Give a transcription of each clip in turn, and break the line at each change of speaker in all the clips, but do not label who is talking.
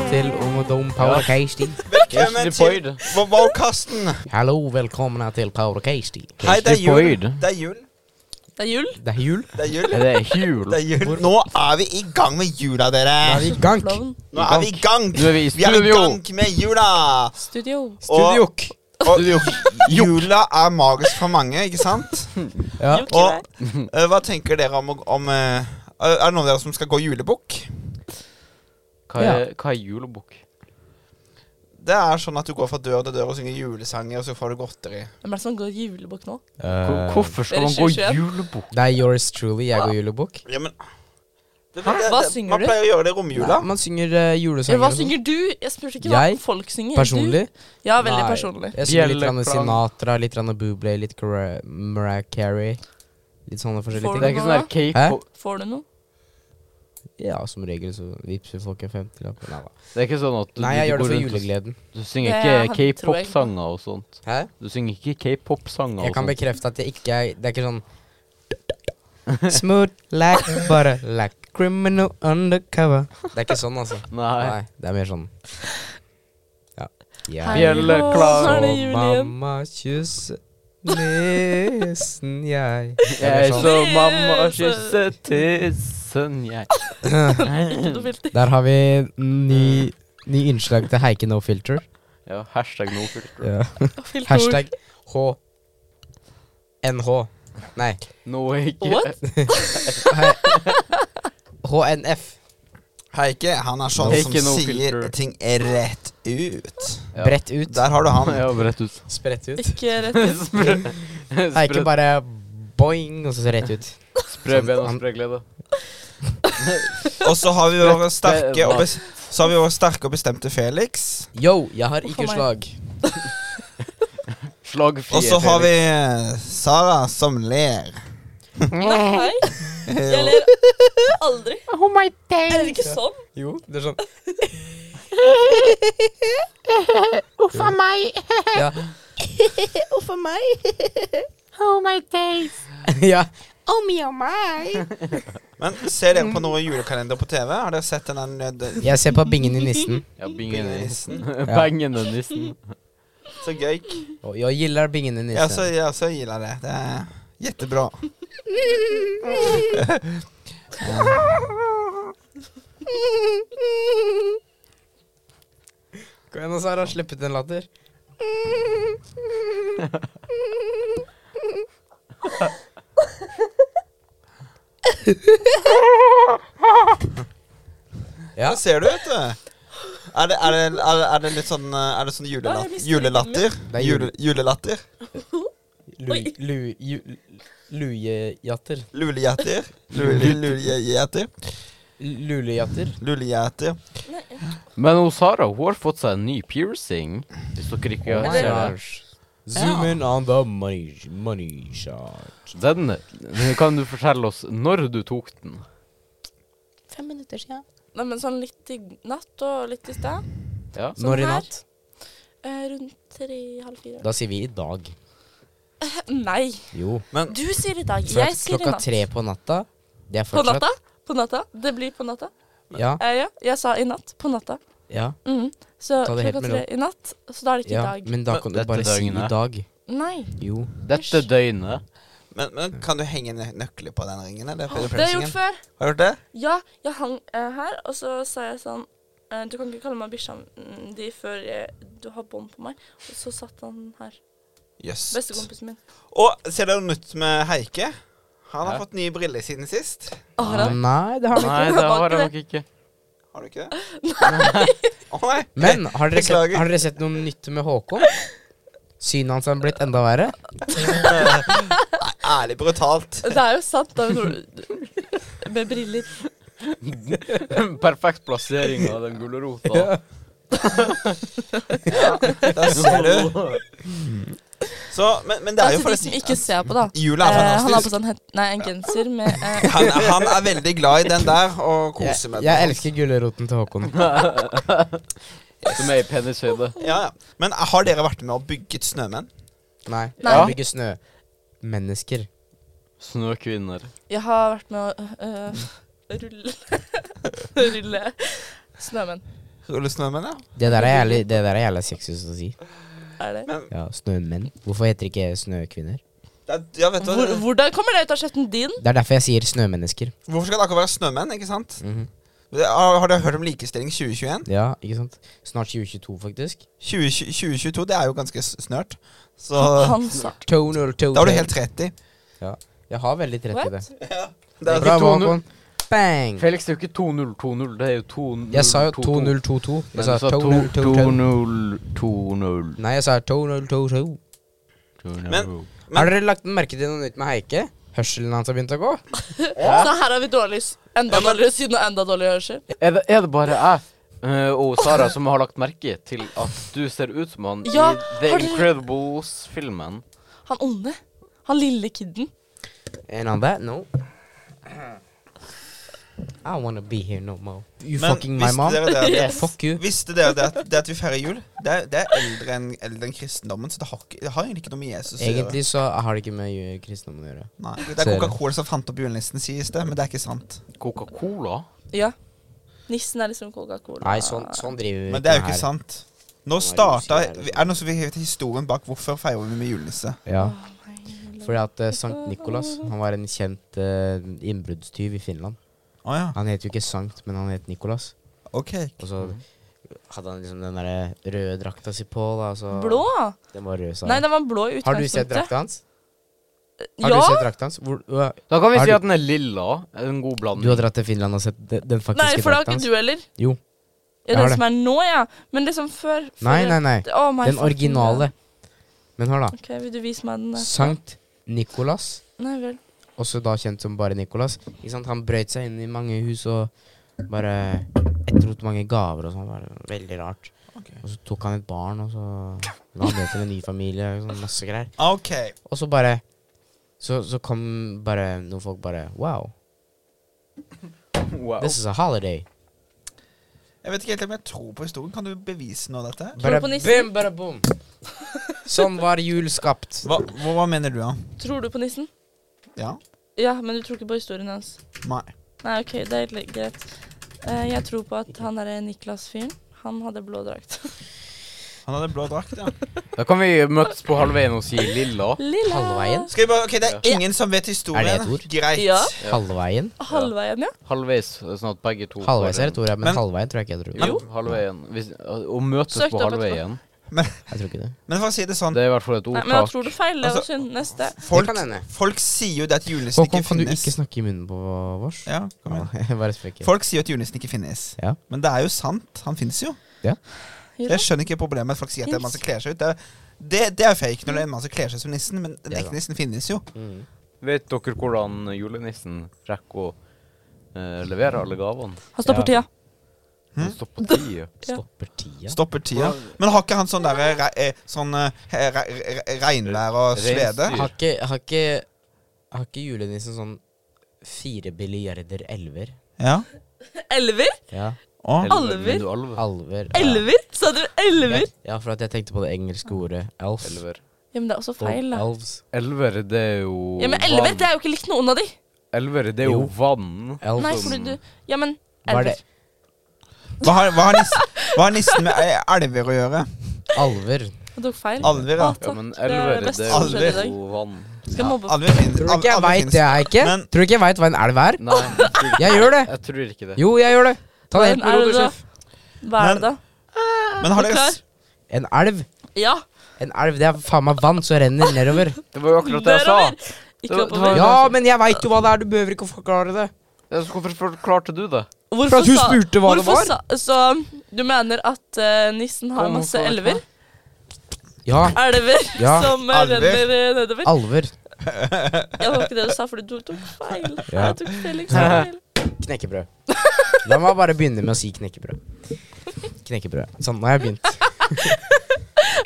Ungdom Powercasting.
Velkommen til
Boyd.
Wowcasten.
Hallo, velkomne til Powercasting.
Hei, det er
Casey
jul.
Boyd.
Det er jul.
Det er jul.
Det er jul.
Det er jul.
Det er jul.
Det er jul. Nå er vi i gang med jula,
Da er
dere.
vi i gang.
Klovn.
Nå er vi i gang.
Nå er vi i
Vi er i
studio.
gang med jula.
Studio.
Studiok. Og
Studio.
jula er magisk for mange, ikke sant?
Ja.
Og eh, hva tenker dere om, å- om eh, Er det noen av dere som skal gå julebukk?
Hva er, hva er julebukk?
Det er sånn at du går fra dør til dør og synger julesanger, og så får du godteri.
Hvem er det som går julebukk nå?
Hvor- Hvorfor skal
Er det
man gå
2021?
julebukk?
Det er yours truly. Jeg går julebukk.
Ja, men det,
Hva synger
man
du?
pleier å gjøre det i romjula.
Nei, Man synger eh, julesanger.
Eller hva
og sånn.
synger du? Jeg spurte ikke hva
Jeg?
folk synger.
Personlig?
Du? Ja, veldig
Nei.
personlig.
Jeg synger litt grann
Bjelleplan.
Sinatra, litt grann Bublé, litt Cara- Mariah Carey. Litt sånne forskjellige
Det
Får
ting.
er ikke sånn her cake
Hæ?
på-
Får du noe?
Ja, som regel så vippser folk en femtilapp. Nei da.
Det er ikke sånn at du,
Nei, jeg
du
gjør det
går
for
rundt og-
julegleden.
Du synger
Det
ikke
tror jeg ikke på.
k-pop-sanger og sånt.
Hæ?
Du synger ikke k-pop-sanger
Jeg
og
kan
sånt.
bekrefte at jeg ikke er Det er ikke sånn Smooth like butter like criminal undercover. Det er ikke sånn, altså.
Nei.
Nei, det er mer sånn Ja.
Hei,
Jeg
Bjelleklang.
nå er det
så
jul igjen.
mamma kysse nesen jeg Det er
Jeg
mer
så
sånn.
mamma kysse tissen, jeg.
Ikke noe filter.
Der har vi ny, ny innslag til Heike no filter.
Ja, hashtag no filter.
Ja.
Filter.
Hashtag H NH. Nei.
No, ikke
What?
Hei. HNF.
Heike, han er sånn
Take
som
no
sier
filter.
ting rett ut.
Ja.
Bredt ut.
Der har du han.
Ja, bredt ut.
Spredt ut.
Ikke rett ut.
Nei, ikke bare boing, og så rett ut.
Spre ben og
Han-
spre glede.
Og så har vi våre sterke og,
mat.
bes så har vi vår sterke og bestemte Felix.
Yo, jeg har ikke
Hvorfor meg?
slag.
Slagfrie.
Og så har vi eh, Sara som ler.
Nei, jeg ler aldri.
Oh my
Jeg ler ikke sånn.
Jo, det er sånn.
Uff a meg.
Ja.
Uff a meg. Oh my days.
ja.
Oh me, oh my.
Men ser dere på noe julekalender på TV? Har dere sett den eh, der nød-
Jeg ser på bingen i nissen.
Ja, bingen i nissen.
Bingen
Bangen i nissen.
Så gøy.
Og jeg gillar bingen i
Jeg også,
nissen.
jeg også gillar det. Det er jättebra.
Kom igjen, Sara. Slipp ut en latter. Ja.
Sånn ser det ut, du. Er det, er, det, er, det, er det litt sånn eh, Er det sånn
Ja, jeg
julelat
mister
julelatter?
Det er jul-
Jule, julelatter?
Lu,
Oi.
lu, ju- Lujejatter.
Lulejæter? Lulejæter?
Lulejatter.
Lulejæter.
Men hun Sara hun har fått seg en ny piercing. Hvis dere ikke
Oh
har
my
sett den.
gosh. Zoom in on the money, money shot.
den. Kan du fortelle oss når du tok den?
Fem minutter siden.
Nei, men sånn litt i natt og litt i sted.
Ja.
Sånn
Når i
her.
natt?
Eh, rundt tre-halv fire.
Da sier vi i dag.
Nei,
Jo.
Men
du sier i dag.
For
Jeg
at
sier i
klokka
natt.
tre på natta Det er
På
fortsatt
natta? På natta. Det blir på natta.
Ja.
Eh, ja, jeg sa i natt. På natta.
ja.
Mhm. Så
Ta det helt
klokka
med
tre i natt, så da er det ikke
ja.
i dag.
Men da kan du
Dette
bare si i
døgnet.
dag.
Nei.
Jo.
Dette døgnet.
Men, men kan du henge nø nøkler på den ringen? Eller?
Det har jeg gjort før.
Har du gjort det?
Ja, jeg hang eh, her, og så sa jeg sånn eh, Du kan ikke kalle meg bikkja mm, di før jeg, du har bånd på meg. Og så satt han her.
Jøss.
Bestekompisen min.
Og ser dere noe nytt med Heike? Han har
Hæ?
fått nye briller siden sist.
Å, har han?
Nei, det har
Nei, det har jeg nok ikke.
Har du ikke det? Å nei.
Men har dere, sett,
Beklager.
har dere sett noe nytt med Håkon? Synet hans har blitt enda verre.
Ærlig brutalt.
Det er jo sant. Da, når du- med briller.
Perfekt plassering av den gulrota.
Der ser du. Så, men, men det er jo
Altså, de som ikke ser på, da.
Jula er
Eh, han har på
fantastisk.
sånn het- Nei, en genser med eh,
Han, han er veldig glad i den der og koser
Jeg,
med
jeg
den.
elsker gulroten til Håkon.
Som er i penishøyde.
Ja, ja. Men har dere vært med og bygget snømenn?
Nei,
Nei.
jeg bygger snø. Mennesker.
Snøkvinner.
Jeg har vært med å eh, rulle Rulle snømenn.
Rulle snømenn, ja.
Det der er jævlig, det der er jævlig sexist å si.
Er det?
Ja, Snømenn. Hvorfor heter ikke snøkvinner?
Det er, ja, vet du hva?
Hvor, hvordan kommer det ut av kjeften din?
Det er derfor jeg sier snømennesker.
Hvorfor skal det akkurat være snømenn, ikke sant?
Mhm.
Det- Har har dere hørt om likestilling 2021?
Ja, ikke sant? Snart 2022, faktisk.
2020 2022, det er jo ganske s- snørt. Så
Han sa
Toner, toner.
da har du helt rett i.
Jeg har veldig rett i det.
What?
Det er-
Bra.
altså
Bravo,
2-0.
Håkon. Bang!
Felix, det er jo ikke 2-0-2-0, det er jo 2-0-2-2.
Jeg sa jo 2022. Jeg sa 2022.
2-0-2-0.
Nei, jeg sa 2022.
Men-
Har dere lagt merke til noe nytt med Heike? Hørselen hans har begynt å gå.
Så her er vi dårlig s- Enda dårligere siden og enda dårligere hørsel.
Er det, er det bare jeg eh, og Sara som har lagt merke til at du ser ut som han
Ja,
i The
har du-
Incredibles-filmen?
Han onde. Han lille kidden.
And on that note I wanna be here no more. You
Men
fucking my
visste
mom?
Dere det, at-
Fuck you.
Visste dere det at, det at vi feirer jul? Det er, det er eldre enn eldre enn kristendommen, så det har, ikke, det har egentlig ikke noe med Jesus å gjøre.
Egentlig så har det ikke med ju- kristendommen å gjøre.
Nei, det er
Ser du.
Coca-Cola som fant opp julenissen, sies det, men det er ikke sant.
Coca-Cola?
Ja. Nissen er liksom Coca-Cola.
Nei, sånn, sånn driver vi
Men det er jo
her.
ikke sant.
Det var
Nå
jo
starta
så
Er
jævlig.
det noen som vil vite historien bak hvorfor feirer vi med julenisse?
Ja. Fordi at eh, Sankt Nikolas Han var en kjent uh, innbruddstyv i Finland.
Å ja.
Han het jo ikke Sankt, men han het Nikolas.
Ok.
Og så hadde han liksom den der røde drakta si på. da og så-
Blå?
Den var rød, sa
Nei,
han.
den var blå i
sånn- Har du sett
utgangspunktet.
drakta hans? Har du
Ja!
sett drakta hans? Hvor, øh,
Da kan vi
Er du-
si at den er lilla. En god
du
blanding.
har dratt til Finland og sett de- den faktiske
Nei, for det har
drakta
ikke
hans?
du heller.
Jo. Jeg
Ja,
har
den
det.
som er nå, ja. Men liksom før. før
Nei, nei, nei.
Oh my
Den
fucking
originale.
God.
Men hør, da.
Ok, Vil du vise meg den? der?
Sankt Nikolas,
Nei vel.
også da kjent som bare Nikolas. Ikke sant? Han brøyt seg inn i mange hus og bare etterlot mange gaver og sånn. Det var Veldig rart. Og så tok han et barn, og så la han det til en ny familie. Og sånn, masse greier.
Ok.
Og så bare så, så kom bare noen folk bare Wow,
Wow.
this is a holiday.
Jeg vet ikke helt om jeg tror på historien. Kan du bevise noe av dette?
Tror
Bare
du på nissen?
bim, bare bom. Sånn var jul skapt.
Hva, hva, hva mener du, da?
Tror du på nissen?
Ja?
Ja, men du tror ikke på historien hans.
Nei.
Nei, OK, det er helt greit. Eh, jeg tror på at han derre Niklas-fyren, han hadde blå drakt.
Han hadde blå drakt, ja.
Da kan vi møtes på halvveien og si lilla.
Lilla.
Halvveien?
Skal vi bare, ok, Det er ingen som vet historien.
Er det et ord?
Greit.
Ja.
Halvveien?
Ah, Halvveien, ja.
Halvveis, sånn at begge to
Halvveis
får
er
en-
et ord, ja, men
Men-
halvveien tror jeg ikke jeg tror.
Jo, halvveien. Hvis, å møtes
Søkt
på
opp
halvveien.
Jeg tror ikke det.
Men for å si det sånn
Det er i hvert fall et
Nei, men da
ordtak.
tror du feil. Det
Altså-
var synd. Neste.
Folk,
Det kan hende.
folk sier jo det at julenissen ikke
Håkon, kan du
finnes.
ikke snakke i munnen på vårs?
ja, kom igjen.
Bare spøker.
Folk sier jo at julenissen ikke finnes.
Ja.
Men det er jo sant. Han finnes jo.
Jo da.
Jeg skjønner ikke problemet med at folk sier at det er en mann som kler seg ut. Det er, det, det er fake når det er en mann som kler seg som nissen, men den
Det er
ekte nissen finnes jo.
Mm.
Vet dere hvordan julenissen rekker å eh, levere alle gavene?
Han står på tida. Hm?
Den står på tide.
Stopper tida.
Stopper tida. Men har ikke han sånn derre re, eh, sånn eh, re, re, re, regnvær og svede?
Reinsdyr.
Har ikke, har ikke, har ikke julenissen sånn fire billiarder elver?
Ja.
Elver?
Ja.
Å.
Elver,
Alver?
men du alver.
Alver. Ja.
Elver? Sa du elver?
ja, for at jeg tenkte på det engelske ordet elf.
Elver.
Ja, men det er også
Og
feil, da.
elves.
Elver, det er jo
Ja, men elver,
vann.
det er jo ikke likt noen av de.
Elver, det er jo
Jo.
vann.
Elves.
Nei, fordi du Ja, men
Hva er
elver.
det?
Hva har, hva, har nissen, hva har nissen med eh, elver å gjøre?
Alver.
Han tok feil.
Alver, ja.
Hater.
Ja, men
Det er det
elver, det
beste
er
som
jo
skjer i
dag.
vann.
Skal mobbe
Alver finnes.
Tror du ikke jeg
alver
veit
finnes.
det, Eike?
Men-
Tror du ikke jeg veit hva en elv er?
Nei, jeg tror,
Jeg gjør det.
jeg tror ikke det.
Jo, jeg gjør det. Ta det helt med
Men
ro,
er
du,
det
sjef.
Hva er det, da?
Men har dere, s-
En elv.
Ja.
En elv, det er faen meg vann som renner nedover.
Det var jo akkurat det jeg sa.
Nedover. Ikke
Det- det
oppover.
var-
Ja, men jeg veit jo hva det er, du behøver ikke å forklare det.
Ja, så Hvorfor forklarte du det?
For at hun spurte hva det
hvorfor
var.
Sa, så du mener at eh, nissen har
Kom,
masse
hvorfor-
elver?
Ja,
Elver
Ja,
som eh,
alver.
renner eh, nedover?
alver.
Ja, det var ikke det du sa, for du tok feil.
Ja.
Jeg tok Felix feil.
Knekkebrød. La meg bare begynne med å si knekkebrød. Knekkebrød. Sånn, nå har jeg begynt.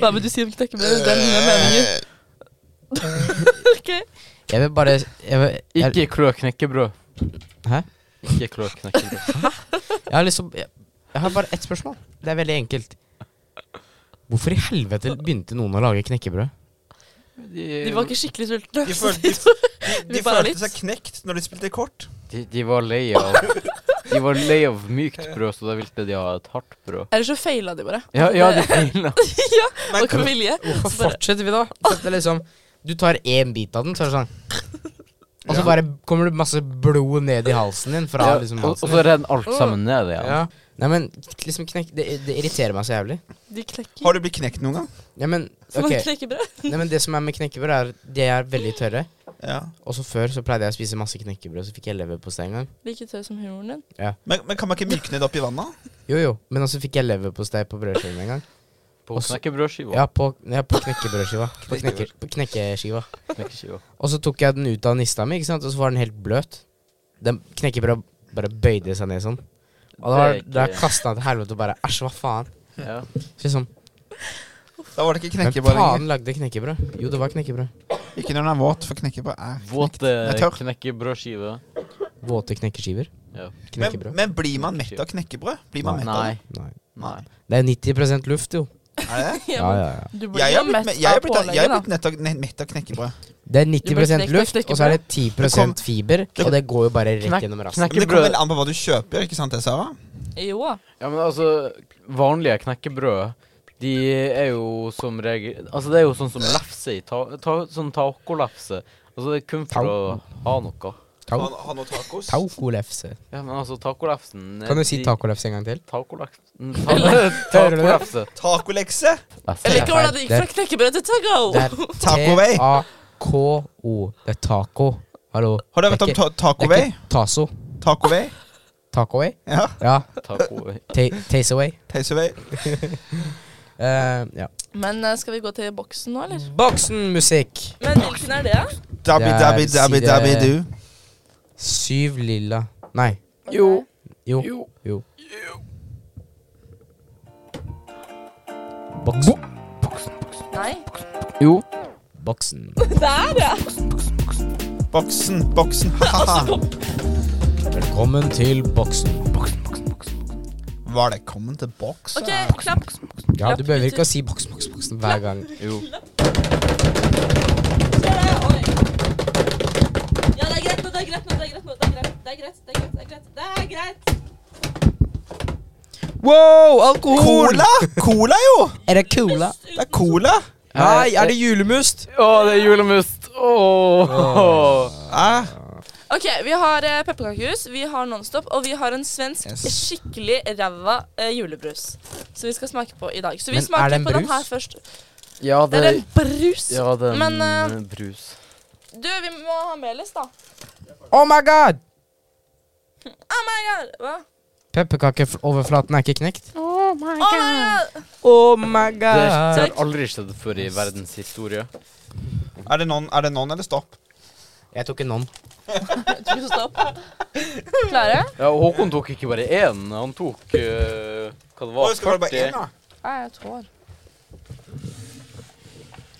Hva vil du si om knekkebrød? Den
Eh,
med meningen. OK.
Jeg vil bare Jeg, vil, jeg,
Ikke klø knekkebrød.
Hæ?
Ikke klø knekkebrød.
jeg har liksom jeg, jeg har bare ett spørsmål. Det er veldig enkelt. Hvorfor i helvete begynte noen å lage knekkebrød?
De var ikke skikkelig sultne.
de
så
følte,
de-
de, de
bare
følte
litt.
seg knekt når de spilte kort.
De, de var lei av De var lei av mykt brød, så da ville de ha et hardt brød.
Eller så feila de bare.
Ja, ja de feila.
ja,
Men
og ikke med vilje.
Hvorfor
Så bare-
fortsetter vi da? For Det er liksom, du tar én bit av den, så er det sånn Og så
Ja.
bare kommer det masse blod ned i halsen din fra
Ja,
liksom
og, og
halsen.
så renner alt sammen ned
Ja.
igjen.
Nei, men liksom knekk det, det irriterer meg så jævlig.
De klekker.
Har du blitt knekt noen gang?
Ja, men,
Så man
ok.
klekker brød.
Nei, men det som er med knekkebrød, er at de er veldig tørre.
Ja.
Og så før så pleide jeg å spise masse knekkebrød, så fikk jeg leverpostei en gang.
Like tørr som humoren din.
Men, men kan man ikke mykne det opp i vannet?
Jo, jo, men også fikk jeg leverpostei på brødskiven en gang.
På
Også-
knekkebrødskiva.
Ja, på, ja, på knekkebrødskiva. På, knekke, på knekkeskiva.
Knekkeskiva.
Og så tok jeg den ut av nista mi, ikke sant? og så var den helt bløt. Den knekkebrød bare bøyde seg ned sånn. Og da,
Det er ikke-
da kastet jeg til helvete og bare Æsj, hva faen?
Ja.
Så liksom,
Da var det ikke
Men
knekkebrød lenger.
faen lagde knekkebrød? Jo, det var knekkebrød.
Ikke når den er våt, for knekkebrød er
Våte
Jeg tør.
knekkebrødskiver.
Våte knekkeskiver.
Ja.
Men,
Knekkebrød.
men blir man mett av knekkebrød? Blir man mett av
Nei.
det?
Nei.
Nei.
Det er 90 luft, jo.
Er det?
Ja, ja, ja.
Du blir
Jeg
jo
har blitt,
mett
me- jeg har
av
blitt, jeg har
pålegget,
blitt nett av, ne- mett av knekkebrød.
Det er
Du blir knekt
90
av
luft, og så er det 10
kom-
fiber. Og det går jo bare
Knekk-
rett gjennom rassen.
knekk-
Men det
Knekkebrød.
kommer vel an på hva du kjøper, ikke sant det, Sara?
da. Jo.
Ja, men altså, vanlige knekkebrød, de er jo som regel Altså, det er jo sånn som lefse i ta, ta, Sånn tacolefse. Altså, det er kun for
Tau-
å ha noe.
Ha,
Tau-
ha noe tacos?
Taukolefse.
Ja, men altså, tacolefsen
Kan du si tacolefse en gang til?
Tacolefsen mm, Tacolefse.
Tacolekse?
Jeg
Det
liker
er
hvordan det gikk fra
feil.
knekkebrød til taco.
Det er
Taco Bay.
T-A-K-O. Det er taco. Hallo.
Har dere
Det er
hørt om
ikke-
ta Taco
Det er
Way?
ikke taso.
Taco Way?
Taco away?
Ja.
Ja.
Taco...
Ta- Taste away.
Taste Way.
Eh, ja.
Men eh, skal vi gå til boksen nå,
Mm.
eller?
Boksenmusikk.
Men hvilken er det?
Dabbi,
Det er
dabbi, dabbi,
side-
dabbi, du.
Syv lilla Nei.
Jo.
Jo.
Jo.
Jo. Boksen.
Nei.
Jo.
Boksen.
Der, ja.
Boksen, boksen, ha-ha.
Velkommen til boksen.
Var det kommet til boks?
OK, klapp.
Ja, du behøver ikke å si boks, boks, boksen hver gang.
Jo.
Ja, det er greit nå, det er greit nå, det er greit nå. Det er greit, det er greit, det er greit. Det er greit. Det er greit.
Wow, alkohol!
Cola? Cola, jo!
Er det cola?
Det er cola.
Nei, er det julemust?
Å, det er julemust! Åh.
Eh,
Ok, Vi har eh, pepperkakehus, vi har Nonstop, og vi har en svensk
Yes.
skikkelig ræva eh, julebrus. Som vi skal smake på i dag. Så vi
Men er
smaker
det en
på den
brus?
her først.
Ja,
Det er en brus.
Ja, det er
Men,
en eh, brus.
Du, vi må ha melis, da.
Oh my god!
Oh my god! Hva?
Pepperkakeoverflaten er ikke knekt.
Oh my god.
Oh my
Det, det
god!
har aldri skjedd før i verdens historie.
Er det noen, er det noen eller stopp?
Jeg tok en non.
Tusen stopp. Klare?
Ja, og Håkon tok ikke bare én, han tok eh, hva det
Å,
var,
skal det bare
40.
en, da?
Nei, jeg tår.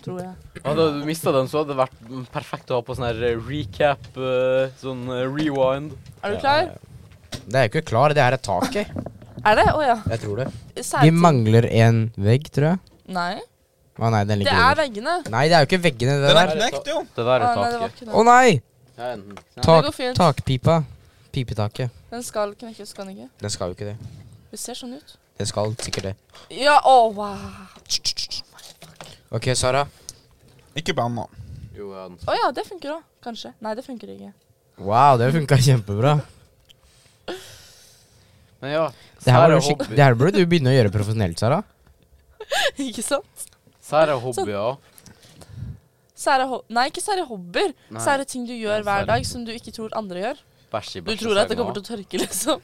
Tror jeg.
Hadde du mista den, så hadde det vært perfekt å ha på sånn her eh, recap, eh, sånn eh, rewind.
Er du klar?
Det er jo ikke klar, det her er taket.
Er det? Å ja.
Jeg tror det. Vi
Særlig.
mangler en vegg, tror jeg.
Nei.
Å nei, den
Det
ligger
er
under.
veggene.
Nei, det er jo ikke veggene, det
Den er
der.
er
knekt, jo.
Det der
Å,
er
nei, det var
taket.
ikke
Å
det.
nei!
Ja, enten- nei.
Tak,
går fint.
takpipa. Pipetaket.
Den skal knekkes, skal den ikke?
Den skal jo ikke det.
Det ser sånn ut.
Den skal sikkert det.
Ja, å, wow.
OK, Sara.
Ikke bland nå.
Jo, ja, den-
Å ja, det funker òg. Kanskje. Nei, det funker ikke.
Wow, det funka kjempebra.
Men ja,
Det her, var
sære
jo skikk- det
hobbyer.
her burde du begynne å gjøre profesjonelt, Sara.
ikke sant?
Sære hobbyer.
Sære ho Nei, ikke sære hobbyer.
Nei.
Sære ting du gjør
Nei,
hver
sære-
dag som du ikke tror andre gjør.
Bæsj i
Du tror at det kommer til å tørke, liksom.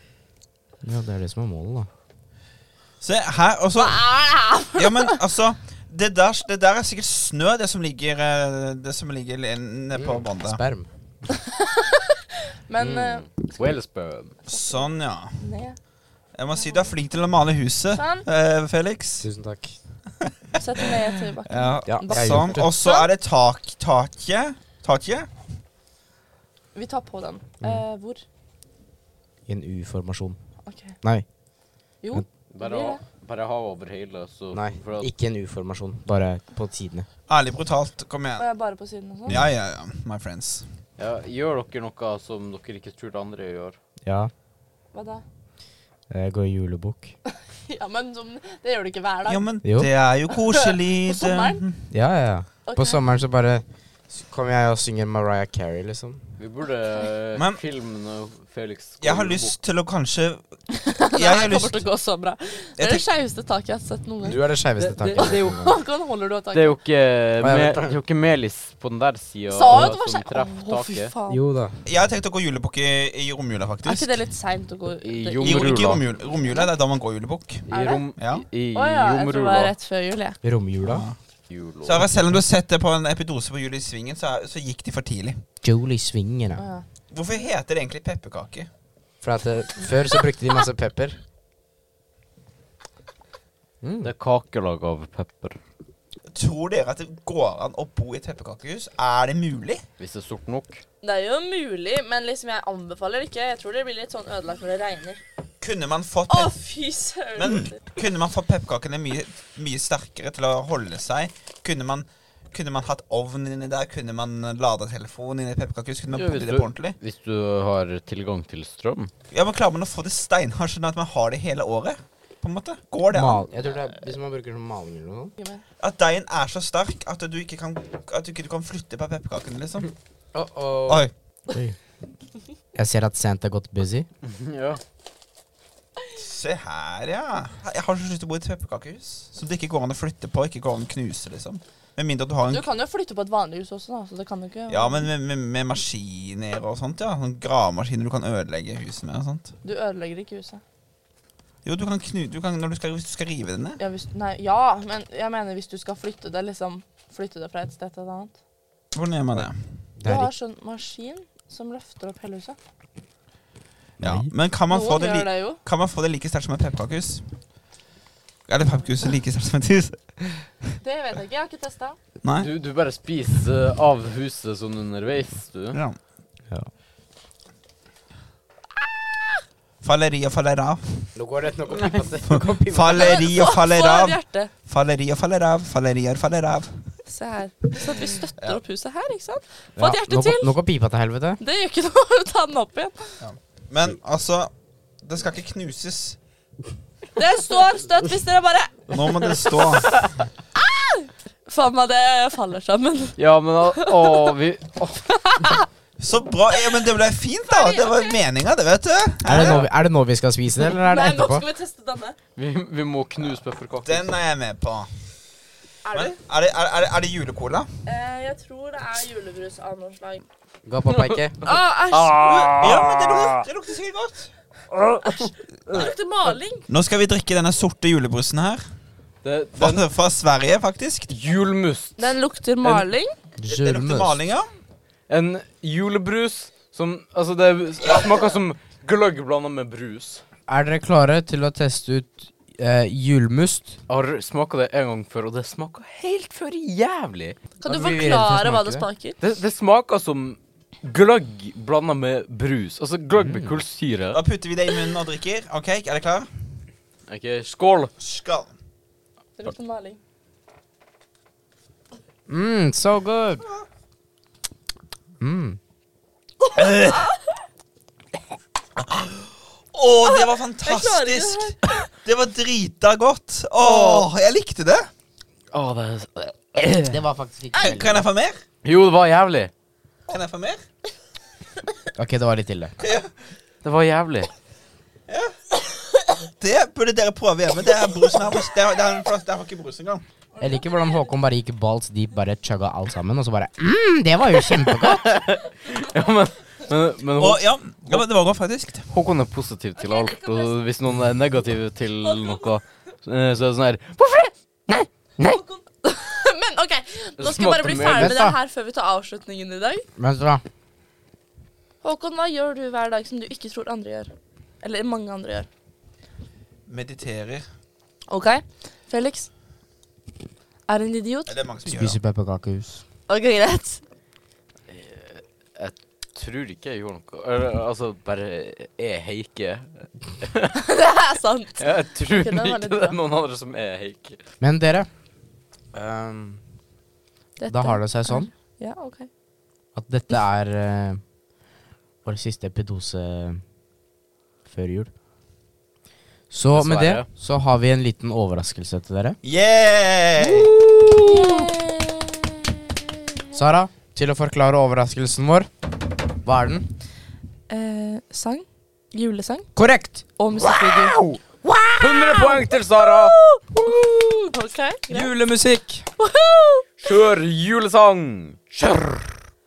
Ja, det er det som er målet, da.
Se her, og så Ja, men altså det der, det der er sikkert snø, det som ligger eh, Det som ligger le- nede
Mm.
på vannet.
Sperm.
Men eh,
Whalesperm.
Sånn, ja.
ned.
Jeg må si du er flink til å male huset,
Sånn.
eh, Felix.
Tusen takk.
Sett den ned til bakken.
Ja,
Ja, jeg har
sånn.
gjort det.
Og så er det tak, taket. Taket?
Vi tar på den. Eh, hvor?
I en U-formasjon.
OK.
Nei.
Jo.
Bare,
Blir
ha- bare ha over hele, så
Nei,
for at-
ikke en U-formasjon. Bare på sidene.
Ærlig brutalt. Kom
Og
igjen.
jeg er bare på siden og sånn?
Ja, ja, ja. My friends.
ja, Gjør dere noe som dere ikke tror andre gjør.
Ja.
Hva da?
Jeg går i julebukk.
Ja, men som, det gjør du ikke hver dag.
Ja, men
Jo.
det er jo koselig.
På sommeren?
Ja, ja, ja.
Ok.
På sommeren så bare s- kommer jeg og synger Mariah Carey, liksom.
Vi burde eh,
Men-
filme når Felix
Jeg har
går i
lyst til å kanskje
Nei,
Jeg har
det
lyst
kommer til å gå så bra. Det er
tenk-
det skjeveste taket jeg har sett noen gang.
Du er det skeiveste
Det- det-
taket.
det er jo-
Håkon, holder du av
bok. Det er
taket?
jo ikke,
Hva er
me,
det?
det er jo ikke Melis på den der sida
Sa hun at det var
som
skjevt?
treffer
Å, fy
taket.
faen.
Jo da.
Jeg har tenkt å gå julebukk i, i romjula,
Er
faktisk.
ikke det litt seint å gå ut?
I
I,
Romjula.
ikke i romjula, romjula, det er da man går julebukk.
I, rom,
Ja.
i, i
Å ja, jeg tror det var
jomrula.
rett før jul, jeg.
Romjula.
Jula.
Sara, selv om du har sett det på en epidose på Jul i Svingen, så, er, så gikk de for tidlig.
Jolie Swinger,
Å
ja.
ja.
Hvorfor heter det egentlig pepperkake?
For at eh, før så brukte de masse pepper. Mm.
Det er kakelag av pepper.
Tror dere at det går an å bo i et pepperkakehus? Er det mulig?
Hvis det er stort nok.
Det er jo mulig, men liksom jeg anbefaler ikke. Jeg tror det blir litt sånn ødelagt når det regner.
Kunne man fått,
Å,
pep
fy søren.
men, kunne man fått pepperkakene mye, mye sterkere til å holde seg? Kunne man, kunne man hatt ovn inni der? Kunne man lada telefonen inni et pepperkakehus? Kunne man
Ja,
bodd
hvis
i det
du-
på ordentlig?
Hvis du har tilgang til strøm.
Ja, men Klarer man å få det steinhardt sånn at man har det hele året? På en måte? Går det an?
Mal jeg tror det er Hvis man bruker sånn maling eller noe sånt.
At deigen er så sterk at du ikke kan, at du ikke kan flytte på pepperkakene, liksom?
Uh
Oi.
Jeg ser at Santa har gått busy.
ja.
Se her, ja. Jeg har så lyst til å bo i et pepperkakehus. Som det ikke går an å flytte på, ikke går an å knuse, liksom. Med mindre du har
Du
en
kan jo flytte på et vanlig hus også, da. Så det kan jo ikke
Ja, men med, med, med maskiner og sånt, ja. Sånn gravemaskiner du kan ødelegge huset med og sånt.
Du ødelegger ikke huset.
Jo, du kan knu... Du kan, når du skal, hvis du skal rive det ned.
Ja, hvis, nei, ja, men jeg mener hvis du skal flytte det, liksom Flytte det fra et sted til et annet.
Hvordan gjør man det?
Det
Du
er
har
ikke-
sånn maskin som løfter opp hele huset.
Ja. Men kan man, få
Noen
det
gjør
li
det jo.
kan man få det like sterkt som et pepperkakehus? Er det pepperkakehuset like sterkt som et hus?
Det vet jeg ikke, jeg har ikke testa.
Nei?
Du, du bare spiser av huset sånn underveis, du.
Ja.
Ja.
Falleri og fallera.
Nå går det nok å pipe seg.
Falleri og fallerav.
hjertet.
Falleri og fallerav. Falleri og fallerav.
Se her. Så at vi støtter opp huset her, ikke sant?
Ja,
Få et
nå
hjerte
går-
til!
Nå går pipa til helvete.
Det gjør ikke noe. Ta den opp igjen.
Men altså Det skal ikke knuses.
Det står støtt hvis dere bare
Nå må det stå.
Faen meg, det faller sammen.
Ja, men al- å, vi å,
Så bra. Ja, men det ble fint, da. Det var meninga, det, vet du.
Er det, nå, vi- er det nå vi skal spise det, eller er det
Nei, nå
etterpå?
skal vi teste denne.
vi, vi må knuse pepperkaker.
Den er jeg med på.
Er
Men
du?
er det, er, er det, er det julecola?
Eh, jeg tror det er julebrus av noe slag.
Gå på peike.
Å, æsj!
Ah.
Ja, men det lukter, det lukter sikkert godt.
Det lukter maling.
Nå skal vi drikke denne sorte julebrusen her.
Det,
Fra,
den
fra Sverige, faktisk.
julmust.
Den lukter maling.
Det lukter maling, ja.
En julebrus som Altså, det smaker som gløgg blanda med brus.
Er dere klare til å teste ut eh, julmust?
Jeg har smaka det en gang før, og det smaker helt for jævlig.
Da
Kan du
blir vi redd for
forklare hva det
smaker.
smaker?
Det, det smaker som gløgg blanda med brus. Altså gløgg med kullsyre.
Da putter vi det i munnen og drikker. OK, er dere klar?
Ok, skål.
Skål.
Det lukter maling.
Mm, so good. Mm.
Å, det var fantastisk! Det var drita godt. Å, jeg likte det.
Å, det er
Det var faktisk ikke
Kan jeg få mer?
Jo, det var jævlig.
Kan jeg få mer?
Ok, det var litt ille.
Det var jævlig.
Det burde dere prøve hjemme. Det er brusen her. Det er, det er en plass der har ikke brus engang.
Jeg liker hvordan Håkon bare gikk balls deep, bare chugga alt sammen, og så bare mm, Det var jo kjempegodt.
Ja, men, men, men Hå-
Og, ja, ja, men det var godt, faktisk.
Håkon er positiv til alt, og hvis noen er negativ til noe, eh, så er det sånn her Hvorfor det?!
Men OK, nå skal jeg bare bli
smakte
ferdig
mer.
med det her før vi tar avslutningen i dag.
Men så da
Håkon, hva gjør du hver dag som du ikke tror andre gjør? Eller mange andre gjør.
Mediterer.
OK? Felix er en idiot.
Ja, Det er mange som gjør
Spiser pepperkakehus.
OK, greit.
Tror ikke jeg gjorde noe Eller, Altså, bare er heike.
Det er sant.
Jeg tror
den var
ikke
litt
det
bra.
er noen andre som er heike.
Men dere, ehm, da har det seg sånn
Ja, OK.
at dette er eh, vår siste pedose før jul. Så med det
Dessverre.
så har vi en liten overraskelse til dere.
Yeah!
Sara, til å forklare overraskelsen vår. Hva er den?
Eh, sang. Julesang.
Korrekt!
Og musikkvideo.
100 poeng til Sara!
OK. greit.
Julemusikk!
Kjør julesang! Kjør!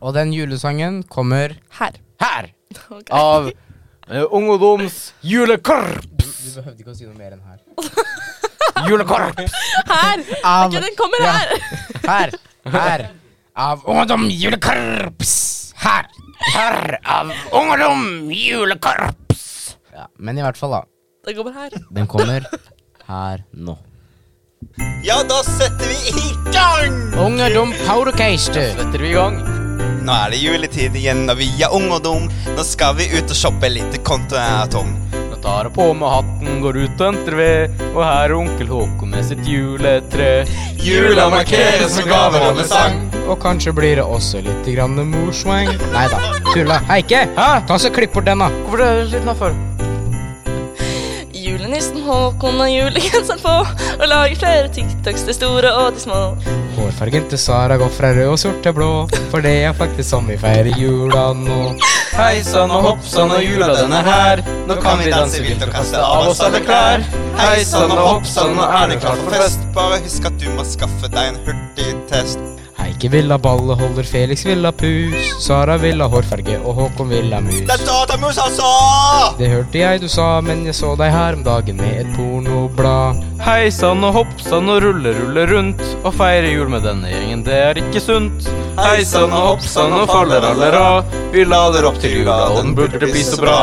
Og den julesangen kommer
Her.
Her!
Ok.
Av eh, Ungdoms julekorps!
Du behøvde ikke å si noe mer enn her.
Julekorps!
Her!
Av
Ok, den kommer
Ja.
her.
Her! Her! Av Ungdom Julekorps! Her!
Her av Ungdom julekorps!
Ja, men i hvert fall, da.
Den kommer her.
Den kommer her nå.
Ja, da setter vi i gang!
Ungdom Powdercaster.
Setter vi i gang?
Nå er det juletid igjen, og vi er unge og dum. Nå skal vi ut og shoppe litt, kontoen er tom.
Nå tar jeg på meg hatten, går ut og entrer ved, og her er onkel Håkon med sitt juletre.
Jula markeres med gaver og med sang.
Og kanskje blir det også litt grann morsvang. Nei da, tulla. Heike, ta så klipp bort den, da.
Hvorfor er det litt nedfor?
Julenissen Håkon og julegenseren på, og lager flere TikToks, de store og de små.
Hårfargen til Sara går fra rød og sort til blå, for det er faktisk sånn vi feirer jula nå.
Hei sann og hopp sann og jula den er her. Nå kan vi danse vilt og kaste av oss alle klær. Hei sann og hopp sann, nå er det klart for fest.
Bare husk at du må skaffe deg en hurtig test.
Heike vil ha balleholder, Felix vil ha pus, Sara vil ha hårfarge, og Håkon vil ha mus.
Det er datamus, altså!
Det hørte jeg du sa, men jeg så deg her om dagen med et pornoblad.
Hei sann og hopp sann og rulle, rulle rundt. Å feire jul med denne gjengen, det er ikke sunt. Hei sann og hopp sann og faller alle ra. Vi lader opp til jula, og den burde bli så bra.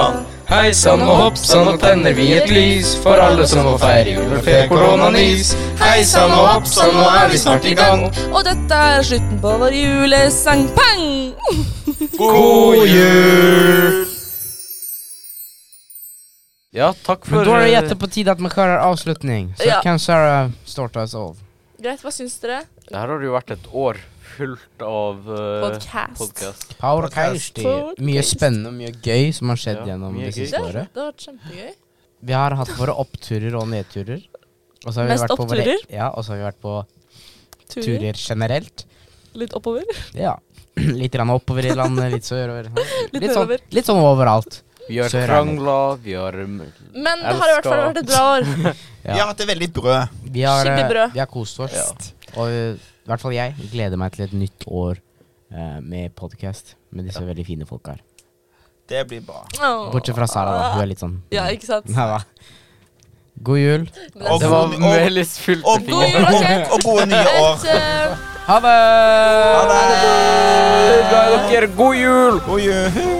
Hei sann og hopp sann, nå tenner vi et lys for alle som må feire jul og fer koronanis.
Hei sann og hopp sann, nå er vi snart i gang.
Og dette er slutten på vår julesang. Pang!
God jul!
Ja, takk
Men
for eh,
da er det gjette på tide at vi klarer avslutning. Så
Ja.
kan Sara starte oss av.
Greit, hva syns dere?
Det her har det jo vært et år fullt av
Eh,
eh,
Podcast.
podkast.
Power
Podcast.
Keishti. Mye
Podcast.
spennende og mye gøy som har skjedd
Ja,
gjennom
mye
det
gøy.
siste
Det har
året.
det har vært kjempegøy.
Vi har hatt våre oppturer og nedturer. Og så har vi
Mest
vært på våre-
oppturer?
Ja, og så har vi vært på
Turer
turer generelt.
litt oppover.
Ja. Litt grann oppover i landet, litt sørover.
Litt
Litt sånn,
nedover.
litt sånn overalt.
Vi har
Sørlandet.
krangla, vi har
Men det har i hvert fall vært et bra år.
Ja.
Vi har hatt det veldig brød.
Vi har,
Skikkelig
eh,
brød.
vi har kost oss. Og eh, i hvert fall jeg gleder meg til et nytt år eh, med podkast med disse veldig fine folka her.
Det blir bra.
Åh.
Bortsett fra Sara, da. Hun er litt sånn
Ja, ikke sant?
Nei da. God jul.
Men det er
Og
Det
sånn-
var
god- og-
Melis fylte
Og,
God
og,
jul,
fingre.
og,
ok.
og gode nye år.
Et, eh,
Ha det!
Ha det!
Glad i dere. God jul!
God jul!
Oh,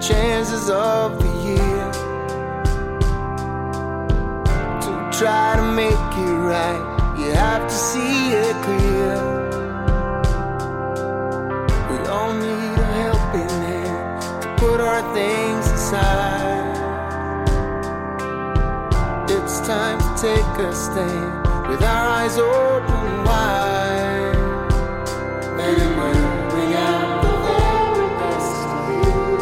Chances of the year to try to make it right. You have to see it clear. We all need a helping hand to put our things aside. It's time to take a stand with our eyes open wide. And we'll bring out the very best of you.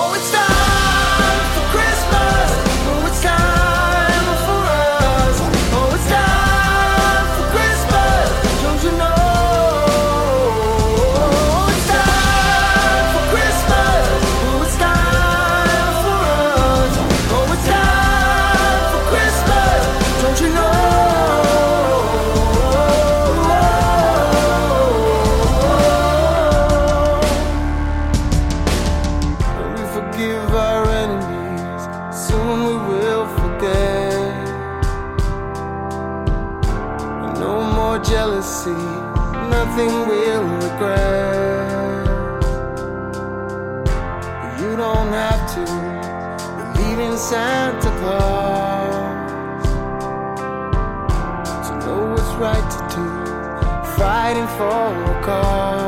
Oh, it's time for Christmas. Oh, it's time for us. Oh, it's time for Christmas. Don't you know? Oh, it's time for Christmas. Oh, it's time for us. Oh, it's time for Christmas. Don't you know? When we forgive our enemies, soon we will forget. No more jealousy, nothing we'll regret. You don't have to believe in Santa Claus to know what's right to do. fighting for a cause. Oh, Oh, Oh, Oh, Oh, Oh, Oh,